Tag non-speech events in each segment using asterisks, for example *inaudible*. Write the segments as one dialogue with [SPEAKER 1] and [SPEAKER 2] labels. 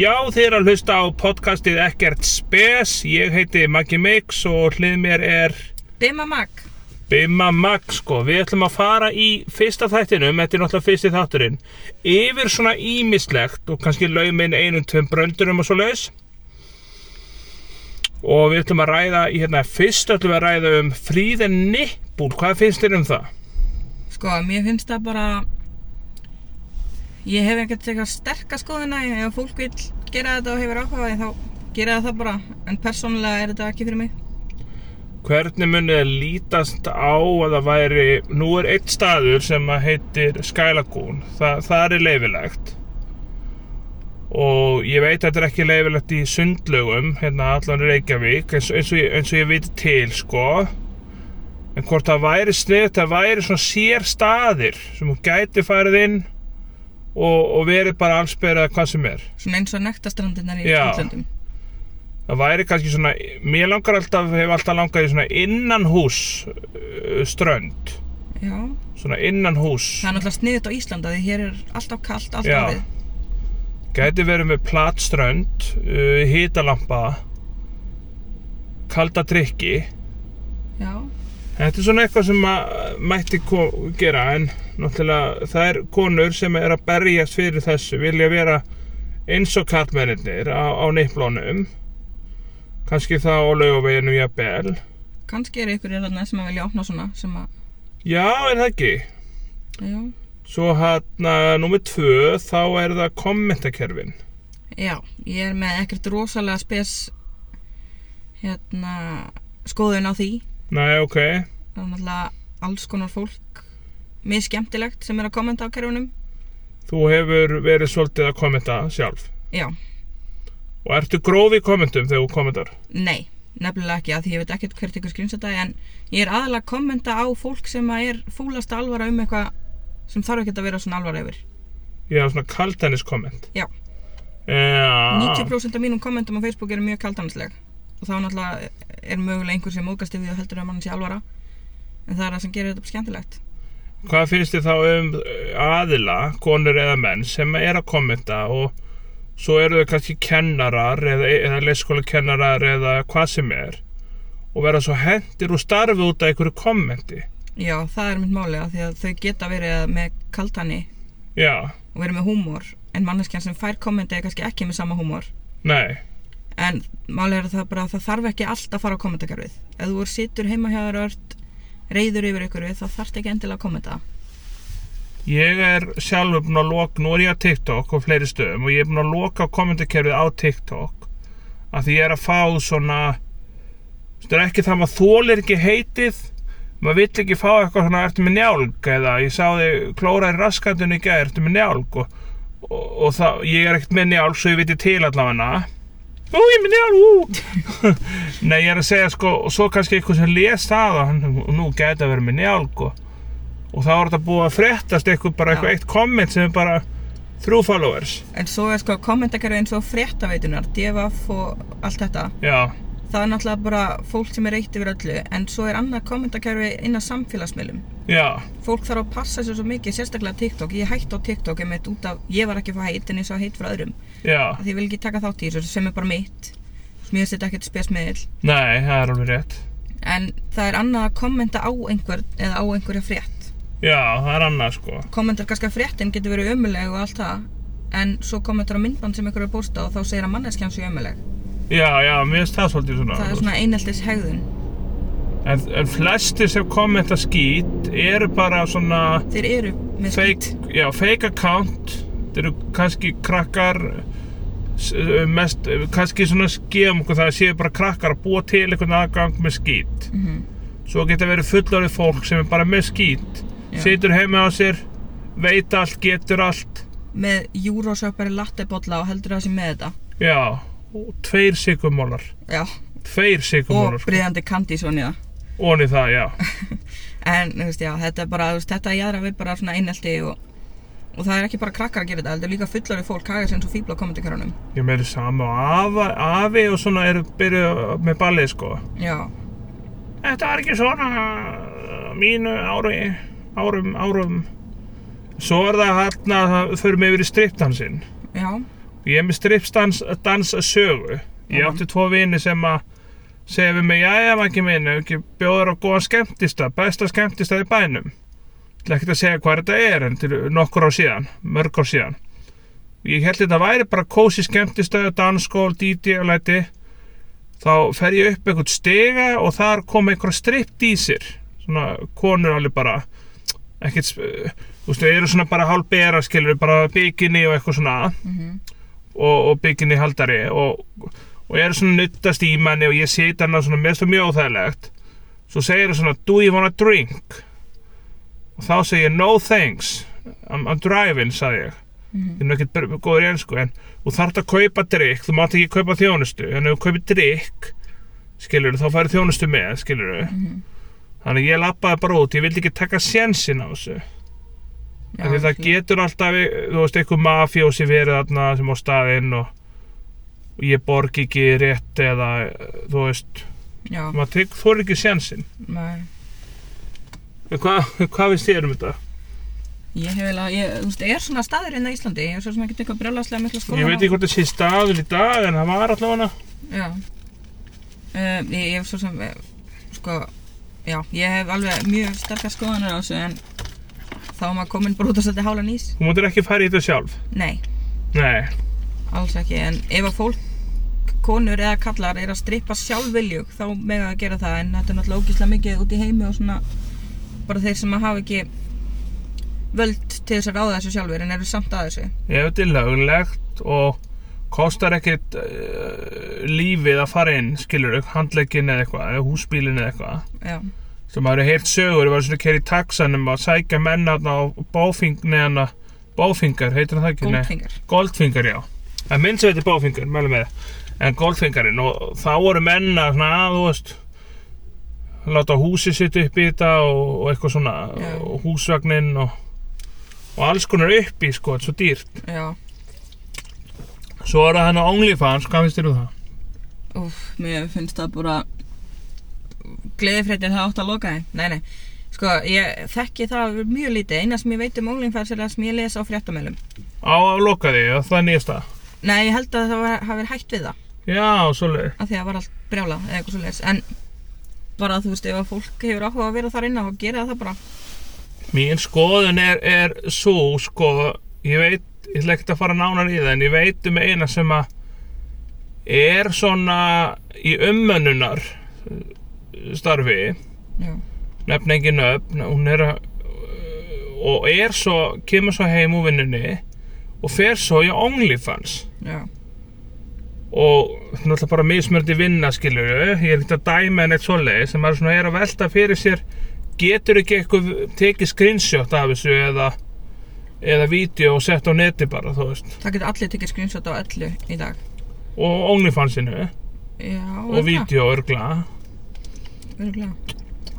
[SPEAKER 1] Já, þið eru að hlusta á podcastið Ekkert Spes. Ég heiti Maggi Mix og hlið mér er
[SPEAKER 2] Bimma Mag
[SPEAKER 1] Bimma Mag, sko. Við ætlum að fara í fyrsta þættinum, þetta er náttúrulega fyrsti þátturinn, yfir svona ímislegt og kannski laumin einum, tveim bröndurum og svo laus. Og við ætlum að ræða, í hérna, fyrst ætlum við að ræða um fríðin nippúl. Hvað finnst þér um það?
[SPEAKER 2] Sko, mér finnst það bara Ég hef ekkert eitthvað sterka skoðina Ef fólk vil gera þetta og hefur áhugaði þá gera það bara En persónulega er þetta ekki fyrir mig
[SPEAKER 1] hvernig munið þið lítast á að það væri, nú er eitt staður sem að heitir Sky Lagoon Þa, það er leifilegt og ég veit að þetta er ekki leifilegt í sundlögum hérna allan í Reykjavík eins, eins, og, ég- eins og ég veit til sko en hvort það væri snið það væri svona sér staðir sem hún gæti farið inn og, og verið bara allsperrað hvað sem er
[SPEAKER 2] Svona eins og nektastrandinnar í
[SPEAKER 1] Já.
[SPEAKER 2] Íslandlöndum
[SPEAKER 1] það væri kannski svona mér langar alltaf, hef alltaf langað í svona innanhús uh, strönd
[SPEAKER 2] Já,
[SPEAKER 1] svona innan hús
[SPEAKER 2] það er náttúrulega sniðut á Íslanda því hér er alltaf kalt, alltaf
[SPEAKER 1] Já.
[SPEAKER 2] við
[SPEAKER 1] gæti verið með platströnd uh, hítalampa kalda drikki
[SPEAKER 2] Já,
[SPEAKER 1] þetta er svona eitthvað sem maður mætti ko- gera en náttúrulega það er konur sem er að berjast fyrir þessu vilja vera eins og kallmennir á, á neiplónum kannski þá á laugaveginu jafnvel
[SPEAKER 2] kannski eru ykkur þarna sem að vilja opna svona sem að,
[SPEAKER 1] já er það ekki
[SPEAKER 2] já,
[SPEAKER 1] svo hérna númer tvö þá er það kommentakerfin
[SPEAKER 2] já ég er með ekkert rosalega spes hérna skoðun á því
[SPEAKER 1] næ ok
[SPEAKER 2] það er náttúrulega alls konar fólk mjög skemmtilegt sem er að kommenta á kerfunum
[SPEAKER 1] þú hefur verið svolítið að kommenta sjálf
[SPEAKER 2] já,
[SPEAKER 1] Og ertu gróf í kommentum þegar þú kommentar?
[SPEAKER 2] nei, nefnilega ekki að því ég veit ekkert hvert ykkur skrýnseta en ég er aðalega að kommenta á fólk sem að er fúlasta alvara um eitthvað sem þarf ekki að vera svona alvara yfir
[SPEAKER 1] Ég hafa svona kaltennis komment.
[SPEAKER 2] Já.
[SPEAKER 1] Já.
[SPEAKER 2] 90% af mínum kommentum á Facebook eru mjög kaldanisleg og þá náttúrulega er mögulega einhver sem mókast yfir því og heldur að mann sé alvara en það er það sem gerir þetta skemmtilegt
[SPEAKER 1] Hvað finnst þið þá um eh, aðila, konur eða menn sem er að kommenta og svo eru þau kannski kennarar eða, eða leyskóla kennarar eða hvað sem er og vera svo hendir og starfi út af einhverju kommenti.
[SPEAKER 2] já, það er mitt máli að því að þau geta verið með kaldani
[SPEAKER 1] Já,
[SPEAKER 2] og verið með húmor en manneskjan sem fær kommenti er kannski ekki með sama húmor
[SPEAKER 1] nei,
[SPEAKER 2] en málið er það bara að það þarf ekki allt að fara á kommentakerfið ef þú er sittur heima hjá þér og ert reyður yfir ykkur þá þarf ekki endilega að kommenta
[SPEAKER 1] ég er sjálfur búinn að loka, nú er ég á TikTok og fleiri stöðum og ég er búinn að loka kommentarkerfið á TikTok að því ég er að fá svona þetta er ekki það maður þólir ekki heitið maður vill ekki fá eitthvað svona ertu með njálg eða ég sá þig klóra í raskandunni í gæð ertu með njálg og, og, og það, ég er ekkert með njálg svo ég viti til allavega ú ég er með njálg ú *laughs* nei ég er að segja sko og svo kannski eitthvað sem les það og hann, nú gæti að vera með njálg og, og þá er þetta búið að fréttast eitthvað bara eitthvað
[SPEAKER 2] Já.
[SPEAKER 1] eitt komment sem er bara þrjú followers
[SPEAKER 2] en svo er sko kommentakerfið eins og fréttaveitunar devaf og allt þetta
[SPEAKER 1] já
[SPEAKER 2] það er náttúrulega bara fólk sem er reitt yfir öllu en svo er annað kommentakerfi inn á samfélagsmiðlum
[SPEAKER 1] Já,
[SPEAKER 2] fólk þarf að passa sér svo mikið, sérstaklega TikTok ég hætti á TikTok einmitt út af, ég var ekki að fá heit en ég sá heit frá öðrum
[SPEAKER 1] já,
[SPEAKER 2] af því ég vil ekki taka þátt í þessu sem er bara mitt sem ég setja ekkert spesmiðil
[SPEAKER 1] nei, það er alveg rétt
[SPEAKER 2] en það er annað að kommenta á einhver eða á einhverja frétt
[SPEAKER 1] Já, það er annað sko
[SPEAKER 2] kommentar kannski að fréttin getur verið ömuleg og allt það en svo kommentar á myndband sem einhverju bústað og þá segir að manneskjan sé ömuleg
[SPEAKER 1] Já, já, mér finnst það svolítið svona
[SPEAKER 2] það er svona eineltis hegðun
[SPEAKER 1] En, en flestir sem kommenta skít eru bara svona
[SPEAKER 2] þeir eru með skít
[SPEAKER 1] fake, já, fake account Þeir eru kannski krakkar s- mest, kannski svona skefum okkur það séu bara krakkar að búa til einhvern aðgang með skít
[SPEAKER 2] Mhm.
[SPEAKER 1] Svo geta verið fullorðið fólk sem er bara með skít
[SPEAKER 2] Já.
[SPEAKER 1] Situr heima á sér, veit allt, getur allt
[SPEAKER 2] með júrósöpari lattebolla og heldur það sem með þetta
[SPEAKER 1] Já, og tveir sigumólar
[SPEAKER 2] Já,
[SPEAKER 1] Tveir sigumólar
[SPEAKER 2] og breiðandi kandi svona í það.
[SPEAKER 1] Ón í það, já.
[SPEAKER 2] En, þú veist, já, þetta er bara, þú veist, þetta jæðra við bara svona einelti og, og það er ekki bara krakkar að gera þetta, heldur líka fullari fólk haga sem svo fíbla á kommentarkarunum.
[SPEAKER 1] Ég meður sama og afa, afi og svona eru byrjuð með ballið, sko.
[SPEAKER 2] Já,
[SPEAKER 1] Þetta var ekki svona á mínu ári, árum, árum. Svo er það hérna, það fyrir mig yfir í striptansinn.
[SPEAKER 2] já,
[SPEAKER 1] Ég er með strippstans dansa sögu. Ég
[SPEAKER 2] Mhm.
[SPEAKER 1] átti tvo vini sem að segja við mig, jæja mangi minn, ef ekki bjóður á góðan skemmtista, besta skemmtista í bænum. Til ekkert að segja hvað þetta er en til nokkur ár síðan, mörg ár síðan. Ég held þetta væri bara kósi skemmtistöðu, dansskól, díti og læti. Þá fer ég upp einhvern stiga og þar kom einhver strippdísir. Svona konur alveg bara, ekkert, sp- þú veist, þau eru svona bara hálfbera, skilur, bara bikini og eitthvað svona
[SPEAKER 2] Mhm.
[SPEAKER 1] og, og bygginni haldari og, og ég er svona nuttast í manni og ég sita hann svona mest og mjög óþægilegt svo segir það svona do you wanna drink og þá segir ég no thanks I'm, I'm driving sagði ég
[SPEAKER 2] Mhm.
[SPEAKER 1] ég er nú ekkert ber- góður í ennsku en þú þarft að kaupa drikk, þú mátt ekki kaupa þjónustu en ef þú kaupir drikk skilur þá færi þjónustu með skilur
[SPEAKER 2] Mhm.
[SPEAKER 1] þannig að ég lappaði bara út, ég vildi ekki taka sénsinn á þessu
[SPEAKER 2] Já,
[SPEAKER 1] Af því það
[SPEAKER 2] skil.
[SPEAKER 1] getur alltaf, þú veist, einhver mafjósi verið þarna sem á staðinn og, og ég borg ekki rétt eða, þú veist,
[SPEAKER 2] Já,
[SPEAKER 1] maður tek, þú er ekki sjansinn.
[SPEAKER 2] nei.
[SPEAKER 1] En Hvað hva finnst þér um þetta?
[SPEAKER 2] Ég hef eiginlega, ég, þú veist, er svona staður inn á Íslandi, ég hef svo sem ekki eitthvað brjólaslega mikla skoðan
[SPEAKER 1] Ég veit
[SPEAKER 2] á-
[SPEAKER 1] ekki hvort það sé staður í dag en það var allavega hana.
[SPEAKER 2] Já. Um, ég, ég hef svo sem, eh, sko, já, ég hef alveg mjög sterkar skoðanir á þessu en þá er maður komin bara út að setja hálan ís.
[SPEAKER 1] Þú mútur ekki fara í þetta sjálf.
[SPEAKER 2] Nei,
[SPEAKER 1] Nei,
[SPEAKER 2] alls ekki, en ef að fólk, konur eða kallar er að strippa sjálfviljug þá mega að gera það en þetta er náttúrulega ógíslega mikið út í heimi og svona bara þeir sem að hafa ekki völd til þess að ráða þessu sjálfur en eru samt að þessu.
[SPEAKER 1] ef þetta er löglegt og kostar ekkert uh, lífið að fara inn, skilur þau, handlegin eða eitthvað, eða húsbílin eða eitthvað.
[SPEAKER 2] Já,
[SPEAKER 1] sem maður hefur heyrt sögur, ég var svona að keyra í taxanum að sækja menn aðna á bófing, neðan að bófingar, heitir hann það ekki? Nei.
[SPEAKER 2] góldfingar.
[SPEAKER 1] Goldfingar, já. Það minn sem heitir bófingar, mælum með það. En Goldfingarinn, og þá voru menn að svona, að, þú veist, láta húsið sitt upp í þetta og, og eitthvað svona,
[SPEAKER 2] Já.
[SPEAKER 1] og húsvagninn og, og alls konar upp í, sko, þetta er svo dýrt.
[SPEAKER 2] Já,
[SPEAKER 1] Svo er það hann á OnlyFans, hvað finnst þér um það?
[SPEAKER 2] Úf, mér finnst það bara gleðifréttir það átt að loka þeim Nei, nei, sko, ég þekki það mjög lítið Eina sem ég veit um ólinfærs er það sem ég les á fréttamælum
[SPEAKER 1] Á að loka því, og það er nýjast það.
[SPEAKER 2] Nei, ég held að það var- hafi verið hægt við það
[SPEAKER 1] Já, svolítið.
[SPEAKER 2] af því að það var allt brjála eða eitthvað svo En bara, þú veist, ef að fólk hefur áhuga að vera þar inna og gera það bara
[SPEAKER 1] Mín skoðun er, er svo, sko, ég veit, ég ætla ekkert að fara nánar í það, en ég veit um eina sem að er svona í ummönnunar eh, starfi,
[SPEAKER 2] Já,
[SPEAKER 1] nefn engin öfn, hún er að, eh, og er svo, kemur svo heim úr vinnunni og fer svo í OnlyFans
[SPEAKER 2] já,
[SPEAKER 1] og náttúrulega bara mismördi vinna skilur ég er ekkert að dæma en eitt svoleið sem maður svona er að velta fyrir sér getur ekki eitthvað tekið screenshot af þessu eða eða vídeo og sett á neti bara þú veist
[SPEAKER 2] það getur allir tekið screenshot á öllu í dag
[SPEAKER 1] og OnlyFansinu
[SPEAKER 2] Já,
[SPEAKER 1] og vídeo örgla
[SPEAKER 2] Örgulega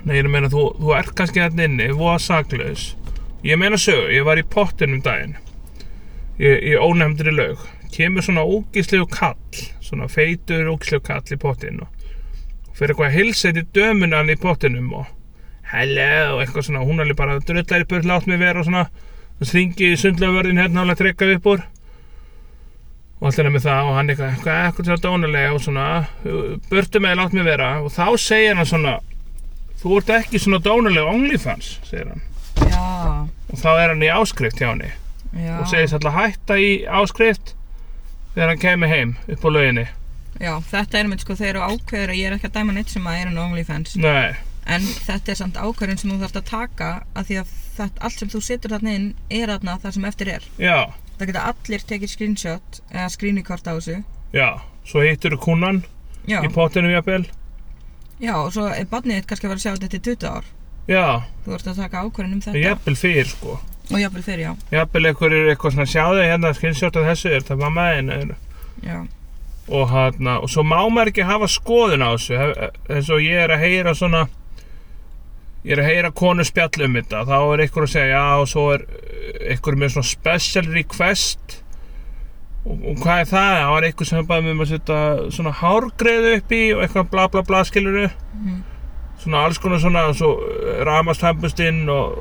[SPEAKER 1] nei ég er að meina þú, þú ert kannski þarna inni voða saklaus ég meina sög ég var í pottinum daginn ég, ég ónefndri lög kemur svona ógislegu kall svona feitur ógislegu kall í pottin og fyrir eitthvað að hilsa þetta dömunan í pottinum og hello, eitthvað svona, hún alveg bara drullar í börn, látt mig vera og svona það ringi í sundlöfverðin hérna alveg trekkað upp úr og allir nefnir það og hann eitthvað, eitthvað, eitthvað svo dónulega og svona, burtu með, látt mig vera og þá segir hann svona þú ert ekki svona dónulega OnlyFans, segir hann
[SPEAKER 2] Já,
[SPEAKER 1] og þá er hann í áskrift hjá henni
[SPEAKER 2] já
[SPEAKER 1] og segist alltaf hætta í áskrift þegar hann kemur heim upp á lauginni
[SPEAKER 2] Já, þetta er mitt sko, þeir eru ákveður og ég er ekki að dæma neitt sem að er en OnlyFans
[SPEAKER 1] nei,
[SPEAKER 2] En þetta er samt ákvörðin sem þú þarft að taka af því að þetta, allt sem þú setur þarna inn er þarna það sem eftir er.
[SPEAKER 1] já,
[SPEAKER 2] Það geta allir tekið screenshot eða screenikort á þessu.
[SPEAKER 1] já svo hittur þú kúnan
[SPEAKER 2] Já,
[SPEAKER 1] í pottinu jafnvel
[SPEAKER 2] já og svo er barnið þitt kannski að vera að sjá þetta í 20 ár.
[SPEAKER 1] já,
[SPEAKER 2] Þú ert að taka ákvörðin um þetta.
[SPEAKER 1] jafnvel fyrir sko
[SPEAKER 2] Og jafnvel fyrir, já.
[SPEAKER 1] jafnvel einhver er eitthvað svona sjáðu hérna screenshot af þessu er það mamma þín er-
[SPEAKER 2] Já,
[SPEAKER 1] og hérna og svo má maður ekki hafa skoðun á þessu hef- eins og ég er að heyra svona ég er að heyra konu spjall um þetta þá er einhver að segja já og svo er uh, einhver með svona special request og, og hvað er það það var einhver sem bara með maður að setja svona hárgreðu upp í og eitthvað bla bla bla skiluru
[SPEAKER 2] Mhm.
[SPEAKER 1] svona alls konar svona svo ramastambustinn og,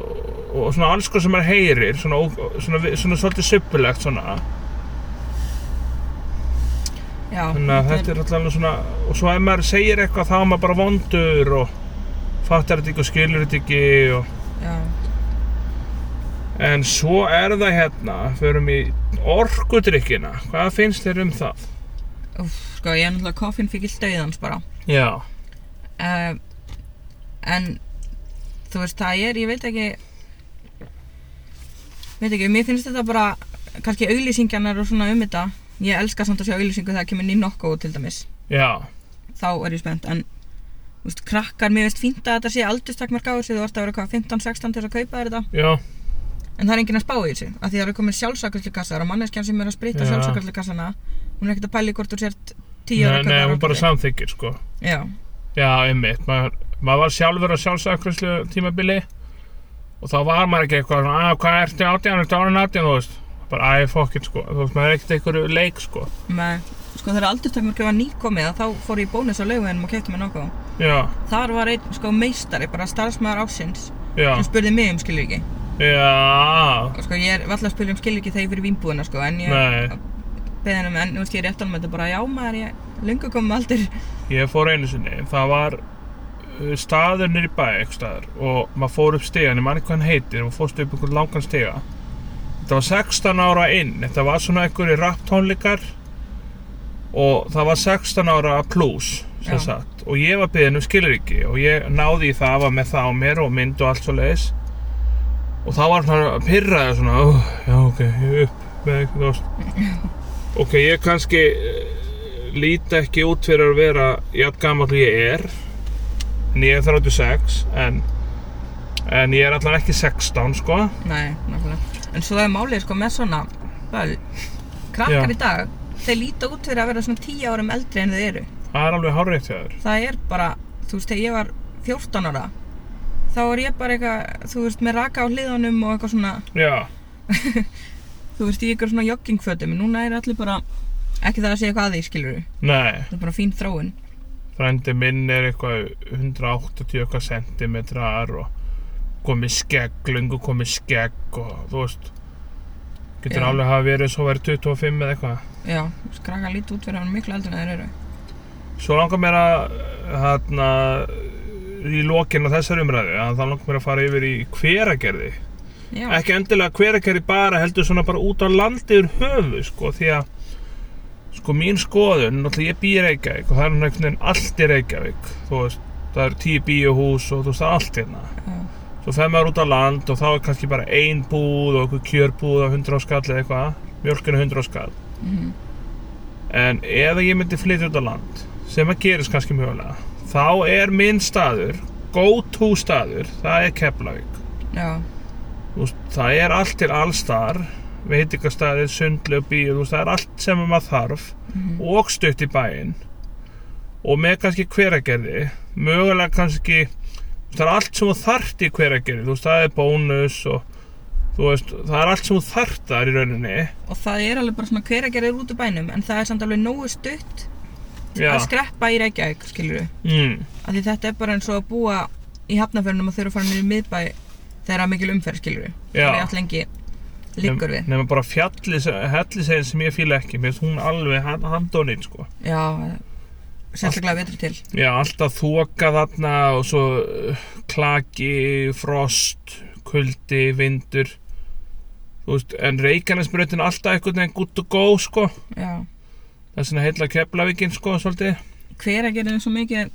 [SPEAKER 1] og svona alls konar sem maður heyrir svona, ó- svona, svona, svona svolítið suppulegt svona
[SPEAKER 2] já
[SPEAKER 1] Þannig að þetta er alltaf svona, og svo ef maður segir eitthvað þá er maður bara vondur og fattar þetta ekki og skilur þetta ekki og...
[SPEAKER 2] já,
[SPEAKER 1] En svo er það hérna, förum í orkudrykkina, hvað finnst þér um það?
[SPEAKER 2] úf, sko ég er náttúrulega koffin fyrir stöðans bara
[SPEAKER 1] Já,
[SPEAKER 2] uh, en þú veist það er, ég veit ekki veit ekki, mér finnst þetta bara kannski auglýsingjarnar og svona um þetta ég elska samt að sjá auglýsingu þegar kemur ný nokku til dæmis,
[SPEAKER 1] já,
[SPEAKER 2] þá er ég spennt en þú veist, krakkar, mér veist fínt að þetta sé aldurstakmark á þessu, þú ert að vera hvað 15-16 til þess að kaupa þér þetta
[SPEAKER 1] já,
[SPEAKER 2] en það er enginn að spá í þessu, af því það eru komin sjálfsakarslukassar og manneskjan sem er að spritta
[SPEAKER 1] Já.
[SPEAKER 2] ja. sjálfsakarslukassana hún er ekkert að pæli hvort þú sért 10 ára
[SPEAKER 1] nei, nei,
[SPEAKER 2] kaupmaður
[SPEAKER 1] hún bara
[SPEAKER 2] aldrei.
[SPEAKER 1] samþykir sko.
[SPEAKER 2] já,
[SPEAKER 1] Já, einmitt, maður, maður var sjálfur á sjálfsakræslu tímabili og þá var maður ekki eitthvað svona, að hvað ertu átján, ertu árið átján, þú veist bara, æ, fuck it, sko, þú veist, maður er ekkert einhverju leik, sko
[SPEAKER 2] með, sko þegar aldurstakmark var nýkomið að þá fór ég í bónus á laugunum og kefti mér nokkuð
[SPEAKER 1] Já,
[SPEAKER 2] þar var einn sko meistari, bara starfsmæður ásins
[SPEAKER 1] já,
[SPEAKER 2] sem spurði mig um skilviki
[SPEAKER 1] já,
[SPEAKER 2] og sko ég er valla að spurði um skilviki þegar ég fyrir vínbúðina sko, en ég
[SPEAKER 1] nei
[SPEAKER 2] beðið hann um, en þú veist ég er rétt alveg þetta bara já maður, ég lungu komið aldur
[SPEAKER 1] Ég fór einu sinni, það var uh, staður nýri bæ eitthvað staðar og maður fór upp stegan, ég man ekki hvað hann heitir og fórst upp einhvern langan stega Þetta var 16 ára inn, þetta var svona einhverju rapptónleikar og það var 16 ára plus sem
[SPEAKER 2] Já.
[SPEAKER 1] sagt og ég var beðin um skilriki og ég náði í það var með það á mér og mynd og allt svo leiðis og það var svona pyrraði svona, oh, já ok, ég er upp með eitthvað þú veist. ok, ég kannski eh, lít ekki út fyrir að vera jafn gamall og ég er en ég er 36 en, en ég er allan ekki 16 sko
[SPEAKER 2] Nei, nákvæmlega. En svo er málið sko með svona, vel, krakkar
[SPEAKER 1] Já.
[SPEAKER 2] í dag, þeir líta út fyrir að vera svona 10 árum eldri en þau eru.
[SPEAKER 1] það er alveg hárétt hjá þér
[SPEAKER 2] Það er bara, þú veist, þegar ég var 14 ára, þá er ég bara eitthvað, þú veist, með raka á hliðunum og eitthvað svona,
[SPEAKER 1] já,
[SPEAKER 2] þú veist, í eitthvað svona joggingfötum, en núna er allir bara, ekki það að segja eitthvað að því, skilur
[SPEAKER 1] nei
[SPEAKER 2] það er bara fín þróun.
[SPEAKER 1] frændi minn er eitthvað 180 eitthvað sentimetrar og komið skegg, lungu komið skegg og þú veist getur
[SPEAKER 2] Já.
[SPEAKER 1] alveg hafa verið svo verið 25 eða eitthvað
[SPEAKER 2] Já, þú veist, krakkar líta út fyrir að vera miklu eldri en þau eru.
[SPEAKER 1] svo langar mér að hérna í lokin á þessari umræðu að þá langar mér að fara yfir í hveragerði
[SPEAKER 2] Já,
[SPEAKER 1] ekki endilega hveragerði bara heldur svona bara út á landi yfir höfu sko því að sko mín skoðun, náttúrulega ég bý í Reykjavík og það er svona einhvern veginn allt í Reykjavík þú veist, það eru tíu bíuhús og þú veist það er allt hérna
[SPEAKER 2] já,
[SPEAKER 1] svo fer maður út á land og þá er kannski bara ein búð og einhver kjörbúð á 100 á skall eða eitthvað, mjölkinu 100 á skall
[SPEAKER 2] mhm,
[SPEAKER 1] en ef ég myndi flytja út á land sem að gerist kannski mjögulega þá er minn staður, go to staður það er Keflavík
[SPEAKER 2] já,
[SPEAKER 1] Þú veist, það er allt til allstar veitingastæðir, sundlu og bíu þú veist, það er allt sem maður þarf
[SPEAKER 2] mhm,
[SPEAKER 1] og stutt í bæinn og með kannski hveragerði mögulega kannski það er allt sem þú þarft í hveragerði þú veist, það er bónus og þú veist, það er allt sem þú þarft þar í rauninni
[SPEAKER 2] og það er alveg bara svona hveragerðir út úr bænum, en það er samt alveg nógu stutt
[SPEAKER 1] Já,
[SPEAKER 2] að skreppa í Reykjavík, skilur við.
[SPEAKER 1] mm,
[SPEAKER 2] Af því þetta er bara eins og að búa í hafnafjörnum og þurfa að fara niður í miðbæ þegar það er mikil umferð, skilur við.
[SPEAKER 1] Já. Um,
[SPEAKER 2] Það er allt lengi liggur við.
[SPEAKER 1] nema bara fjallis hellisegin sem ég fíla ekki, mér finnst hún alveg hand- handóninn sko
[SPEAKER 2] Já, sérstaklega vetri til.
[SPEAKER 1] Já, alltaf þoka þarna og svo uh, klaki, frost, kuldi, vindur Þú veist, en Reykjanesbrautin er alltaf einhvern veginn gutt og góð sko
[SPEAKER 2] Já.
[SPEAKER 1] Þess vegna heilla Keflavíkinn sko svolítið
[SPEAKER 2] Hveragerðin er svo mikið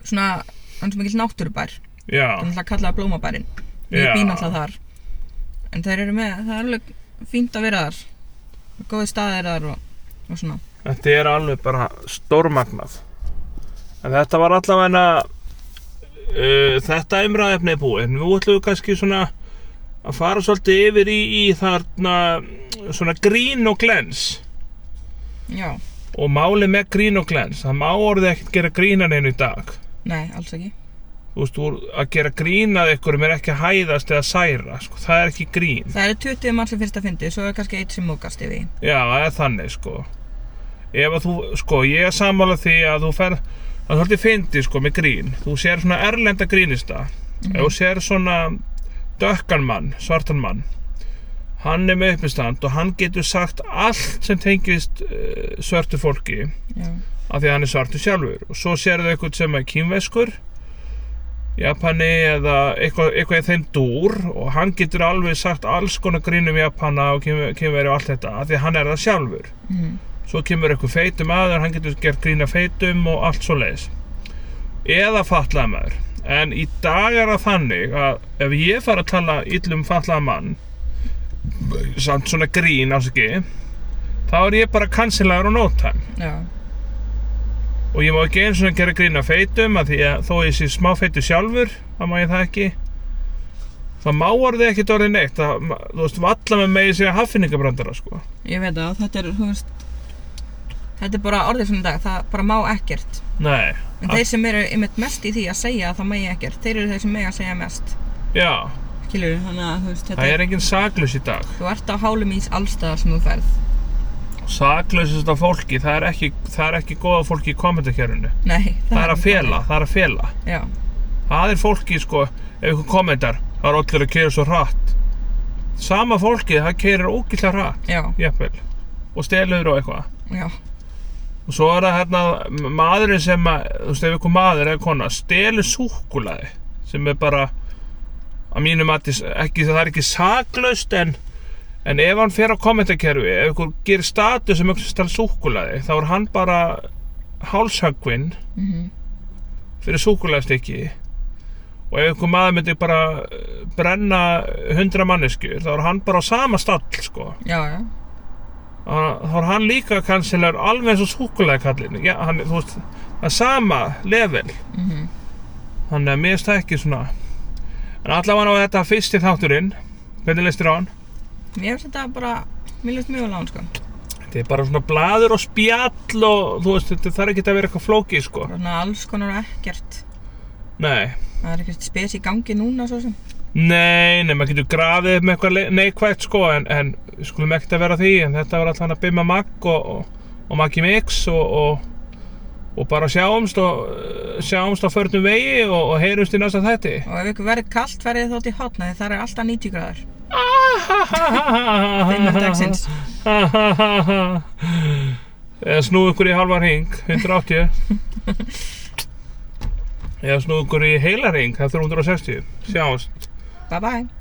[SPEAKER 2] svona, hann er svo mikil náttúrubær. Það er
[SPEAKER 1] Já,
[SPEAKER 2] náttúrulega kallað blómabærin. Ég
[SPEAKER 1] Já.
[SPEAKER 2] býn alltaf þar. En þeir eru með, það er alveg fínt að vera þar. Góði staðir þar og, og svona.
[SPEAKER 1] þetta er alveg bara stórmagnað En þetta var allavega uh, þetta umræðefni er búið En nú ætlum við kannski svona að fara svolítið yfir í, í þarna mm, svona grín og glens
[SPEAKER 2] Já,
[SPEAKER 1] og málið með grín og glens það má orðið ekkert gera grínan einu í dag
[SPEAKER 2] nei, alls ekki.
[SPEAKER 1] þú veist, úr, að gera grínað ykkur er ekki að hæðast eða særa sko. það er ekki grín
[SPEAKER 2] Það eru 20 mann sem fyrst að fyndi, svo er kannski eitt sem mókast yfir því.
[SPEAKER 1] já, það er þannig sko. ef að þú, sko, ég er sammála því að þú fer það er svolítið fyndi sko, með grín þú sér svona erlenda grínista ef þú sér svona dökkan mann, svartan mann hann er með uppistand og hann getur sagt allt sem tengist uh, svörtu fólki
[SPEAKER 2] já,
[SPEAKER 1] af því að hann er svartur sjálfur og svo sérðu eitthvað sem er kínveskur Japani eða eitthvað, eitthvað í þeim dúr og hann getur alveg sagt alls konar grínum Japana og kínve- kínveri og allt þetta af því að hann er það sjálfur
[SPEAKER 2] mhm,
[SPEAKER 1] svo kemur eitthvað feitum aður, hann getur gert grína feitum og allt svo leiðis eða fatlaða maður en í dag er það þannig að ef ég fara að tala illum fatlaða mann samt svona grín ásaki þá er ég bara kansilegar og nótæm
[SPEAKER 2] já,
[SPEAKER 1] og ég má ekki eins og gera grína feitum að því að þó ég sé smá feitu sjálfur þá má ég það ekki það má orðið ekkert orðið neitt það, þú veist, valla með megi segja haffinningabrandara sko
[SPEAKER 2] ég veit að þetta er, þú veist, þetta er bara orðið svona í dag, það bara má ekkert.
[SPEAKER 1] nei,
[SPEAKER 2] En þeir sem eru einmitt mest í því að segja að það megi ekkert, þeir eru þeir sem megi að segja mest.
[SPEAKER 1] já,
[SPEAKER 2] Skilur þannig að þú veist, þetta
[SPEAKER 1] það
[SPEAKER 2] er,
[SPEAKER 1] er enginn saklaus í dag
[SPEAKER 2] þú ert á hálum ís allstaðar sem þú ferð.
[SPEAKER 1] Saklausasta fólki, það er ekki, það er ekki góða fólki í kommentarkerfinu.
[SPEAKER 2] Nei,
[SPEAKER 1] Það er að fela, það er að fela.
[SPEAKER 2] Já,
[SPEAKER 1] Það er fólki, sko, ef ykkur kommentar, það er allir að keira svo hratt. Sama fólki, það keirir ógillega hratt,
[SPEAKER 2] já,
[SPEAKER 1] jafnvel, og stelur og eitthvað.
[SPEAKER 2] já,
[SPEAKER 1] Og svo er það hérna, m- maðurinn sem, að, þú veist, ef ykkur maður eða kona, stelur súkkulaði, sem er bara, að mínum að ekki, það er ekki saklaust, en, en ef hann fer á kommentarkerfi, ef ykkur gerir status um ykkur sem stelur súkkulaði, þá er hann bara hálshöggvinn
[SPEAKER 2] mhm,
[SPEAKER 1] fyrir súkkulaðstykki og ef ykkur maður myndi bara eh, brenna hundra manneskjur, þá er hann bara á sama stall, sko.
[SPEAKER 2] já, já,
[SPEAKER 1] Að- þá er hann líka kansilegur alveg eins og súkulæðkallin já, hann, þú veist, það er sama level
[SPEAKER 2] mhm,
[SPEAKER 1] þannig að mér finnst það ekki svona en allavega á þetta fyrsti þátturinn hvernig leist þér á hann?
[SPEAKER 2] Mér finnst þetta bara, mér finnst mjög lán, sko.
[SPEAKER 1] þetta er bara svona blaður og spjall og þú veist, þetta þarf ekki að vera eitthvað flókið sko
[SPEAKER 2] Bara svona alls konar og ekkert.
[SPEAKER 1] nei,
[SPEAKER 2] Það er ekkert spes í gangi núna, svo sem.
[SPEAKER 1] nei, nei, maður getur grafið upp með eitthvað le- neikvætt sko en, en við skulum ekkert að vera að því en þetta var allan að bimma makk og, og, og makki mix og, og og bara sjáumst og eh, sjáumst á förnum vegi og, og heyrumst í næsta þætti
[SPEAKER 2] Og ef ykkur verður kallt, verðið þótt í hotna, því það er alltaf 90 gráður. Innan dagsins.
[SPEAKER 1] *laughs* Eða snúðu ykkur í halvar hring, 180 Eða snúðu ykkur í heilar hring, það er 360 Sjáumst
[SPEAKER 2] Bye bye.